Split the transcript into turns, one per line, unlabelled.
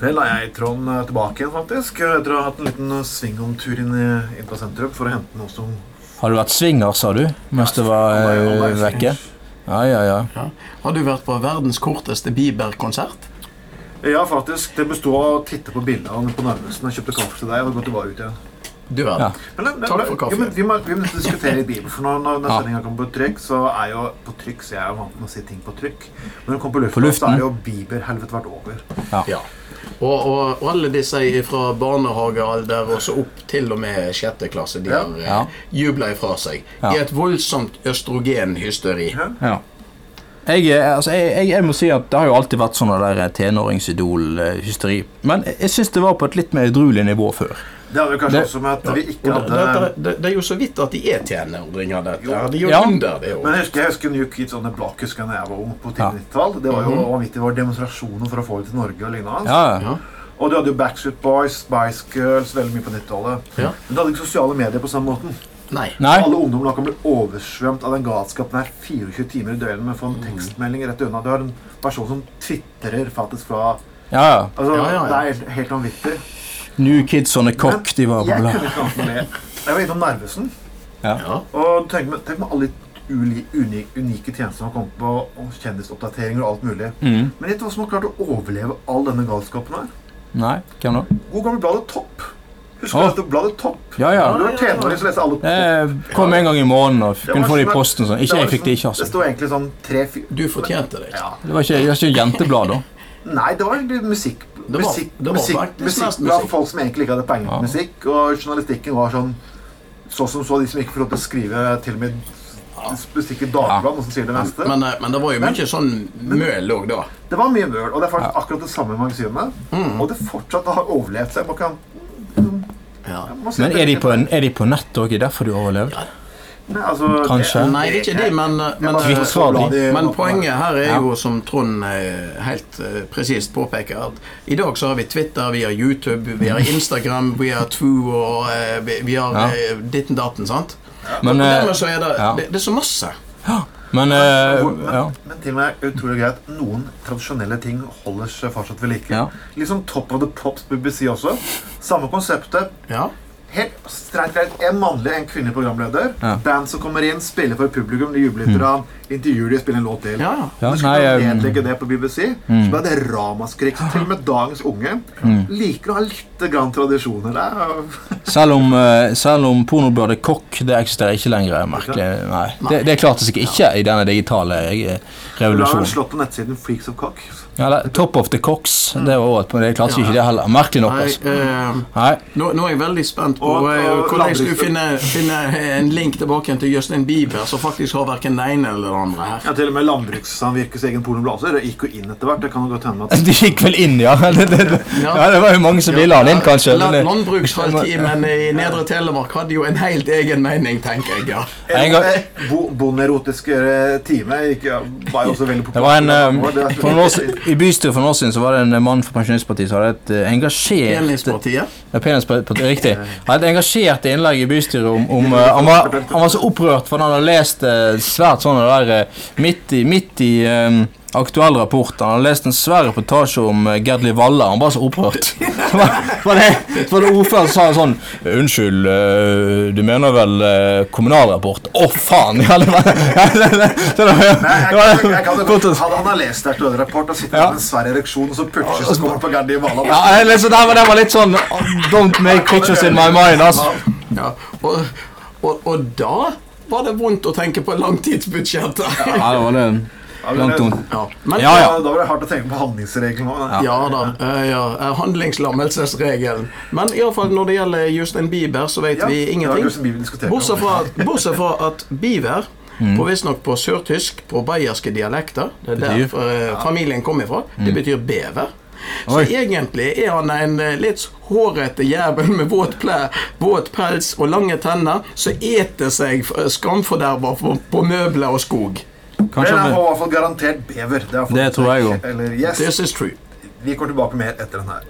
Det la jeg Trond eh, tilbake igjen, faktisk. Etter å ha hatt en liten eh, svingomtur inn, i- inn på sentrum for å hente noe som
Har du vært swinger, sa du, mens du var eh, vekke? Ja, ja, ja.
Ja. Har du vært på verdens korteste Bieber-konsert?
Ja, faktisk. Det besto av å titte på bildet av han på Narvesen. Jeg kjøpte kaffe til deg og gå tilbake ut igjen.
Du verden.
Ja.
Men det, det,
Takk for kaffe.
Jo, men vi, må, vi må nesten diskutere Bibelen, for når, når, når
Ja.
sendinga kommer på trykk, så er jo På trykk, så jeg er jo vant med å si ting på trykk. Men når det kommer på luften,
På
så
luften.
er jo Bieber-helvete vært over.
Ja. Og, og alle disse fra barnehagealder og så opp til og med sjette klasse, de har
Ja.
eh, jubla ifra seg.
Ja.
I et voldsomt østrogenhysteri.
Ja.
Ja. Jeg, eh, altså, jeg, jeg, jeg må si at det har jo alltid vært sånn der eh, tenåringsidol-hysteri. Men jeg- jeg syns det var på et litt mer edruelig nivå før.
Det hadde vi kanskje
Det-
også med at vi ikke
Og
hadde
det, det, det, det er jo så vidt at de er tenåringer, dette.
Jo.
her. De er jo
Ja.
under det
Men
òg.
jeg husker, jeg husker New Kids on the Block husker jeg da jeg var ung på tidlig 90-tall. Det var jo vanvittig. Det var demonstrasjoner for å få det til Norge og lignende.
Ja, ja.
Og du hadde jo Backstreet Boys, Spice Girls, veldig mye på 90-tallet.
Ja.
Men du hadde ikke sosiale medier på samme måten.
Nei.
Nei?
Alle ungdommer da kan bli oversvømt av den galskapen her 24 timer i døgnet med å få en tekstmelding rett unna. Du har en person som tvitrer faktisk fra
Ja, ja.
Altså,
Ja, ja, ja.
Det er helt, helt vanvittig.
New Kids on a
Men
Cock, de var
jeg
populære.
kunne ikke annet enn det. Jeg var innom Narvesen.
Ja.
Og tenk med, tenk med alle de uli, uni, unike tjenester som har kommet på, og kjendisoppdateringer og alt mulig.
Mm.
Men vet du hva som har klart å overleve all denne galskapen her?
Nei, hvem da?
God gammel bladet Topp. Husker
Åh.
du dette bladet Topp?
Ja, ja.
Når du var tenåring, så leste alle Topp.
Jeg kom en gang i måneden og
Det
kunne
var
få det i
sånn-
posten. Sånn. Ikke
var
jeg fikk det, ikke
sånn- Det
altså.
sto egentlig sånn tre fire
Du fortjente det.
ja.
Det var ikke, det var ikke jenteblad, da.
Nei, det var egentlig musikk
var-
musikk,
det var
musikk,
faktisk
musikk
nesten
fra
musikk.
folk som egentlig ikke hadde peiling på
Ja.
musikk. Og journalistikken var sånn så som så, de som ikke får lov til å skrive til og med musikk i dagblad, noe som sier det meste.
Men, eh, men det var jo
Men-
mye sånn møl òg da.
Det var mye møl, og det er faktisk akkurat det samme magasinet.
Mm.
Og det fortsatt har overlevd seg. Man kan,
Ja.
man må si
Men
at det-
er de på, er de på nett òg? Er det derfor du har overlevd?
Nei, altså,
Kanskje.
det-
Nei, det er ikke de, men, eh, men,
Jeg bare-
eh,
Twitter,
la de-
men poenget her er
Ja.
jo, som Trond eh, helt eh, presist påpeker, at i dag så har vi Twitter, vi har YouTube, vi har Instagram, vi har True og eh, vi, vi har
Ja.
eh, ditten datten, sant?
Men,
og dermed
eh,
så er det,
ja.
det, det er så masse.
men eh, ja.
Men, men til og med utrolig greit noen tradisjonelle ting holder seg fortsatt ved like.
Ja.
Liksom Top of the Pops på BBC også. Samme konseptet.
Ja.
Helt strengt greit. En mannlig, en kvinnelig programleder.
Ja.
Band som kommer inn, spiller for publikum, de jubler litt. Mm. Intervjuer de, spiller en låt til.
Ja, ja.
Men
Ja, nei,
skulle du
jeg- Mm.
nedlegge det på BBC, så ble det ramaskrik. Så Til og med dagens unge liker å ha litt grann tradisjoner der.
Selv om, eh, selv om pornobladet Kokk det eksisterer ikke lenger. Merkelig. Nei. Det, det klarte seg ikke i denne digitale eh,
Du har
revolusjonen.
slått på nettsiden Freaks of Cock.
Ja, eller Top of the Cocks. Det var også et poeng. Det klarte seg ikke det heller. Merkelig nok.
Mm. Nei,
altså.
eh,
Nei.
nå, nå er jeg veldig spent på
Og- og
eh, hvordan jeg
landbruks-
skulle finne, finne en link tilbake igjen til Justin Bieber, som faktisk har hverken den ene eller den andre her.
Ja, til og med Landbrukssamvirkets egen pornoblaser gikk jo inn etter hvert. Det kan jo godt hende at
De gikk vel inn, ja. Det, det, det.
Ja.
ja, det var jo mange som ville ha den inn, kanskje.
La-
Men det-
Landbrukshalvtimen i Nedre Telemark hadde jo en helt egen mening, tenker jeg. ja.
En gang-
Eh, bo- Bondeerotiske eh, time gikk, ja, var jo også veldig
Det var en,
populært.
eh,
Det
for noen år, si- I bystyret for noen år siden så var det en eh, mann fra Pensjonistpartiet som hadde et eh, engasjert
Enhetspartiet.
Ja, Penispartiet, riktig. Han hadde et engasjert innlegg i bystyret om, om eh, han, var, han var så opprørt, for han hadde lest eh, svært sånn det der eh, midt i, midt i eh, aktuell rapport. Han hadde lest en svær reportasje om eh, Gerd Livalla. Han var så opprørt. Så var, var det, så var det ordføreren som sa sånn Unnskyld, eh, du mener vel eh, kommunalrapport? Å, faen! Ja, det var, det, det, det var,
Nei, jeg
det
kan,
var,
jeg kan, jo
det var
godt- hadde han har lest der til rapport og sitter
Ja.
med en svær ereksjon, og så putcher så kommer han på Gardi Vala.
ja, eller så der var, den var litt sånn oh, Don't make pictures in my mind, altså.
Ja. Og, og, og da var det vondt å tenke på langtidsbudsjettet.
Ja, det var det.
Ja, men
Langt
det-
vondt.
Ja. Men,
Ja, ja.
Da var det hardt å tenke på handlingsregelen òg.
Ja da. eh, Ja, eh, handlingslammelsesregelen. Men iallfall når det gjelder Justin Bieber, så vet vi ingenting. Bortsett fra, bortsett fra at Bieber
Mm.
på Visstnok på sørtysk, på bayerske dialekter Det er der
Betyr? Mm.
eh, familien kom ifra. Det betyr bever. Så
Oi.
egentlig er han en eh, litt hårete jævel med våt, ple, våt pels og lange tenner som eter seg eh, skamforderva på, på møbler og skog.
Men
Kanskje
han
han
var i hvert fall garantert bever. Det, er i hvert fall-
Det tror jeg også.
Eller yes,
This is true.
Vi går tilbake mer etter den her.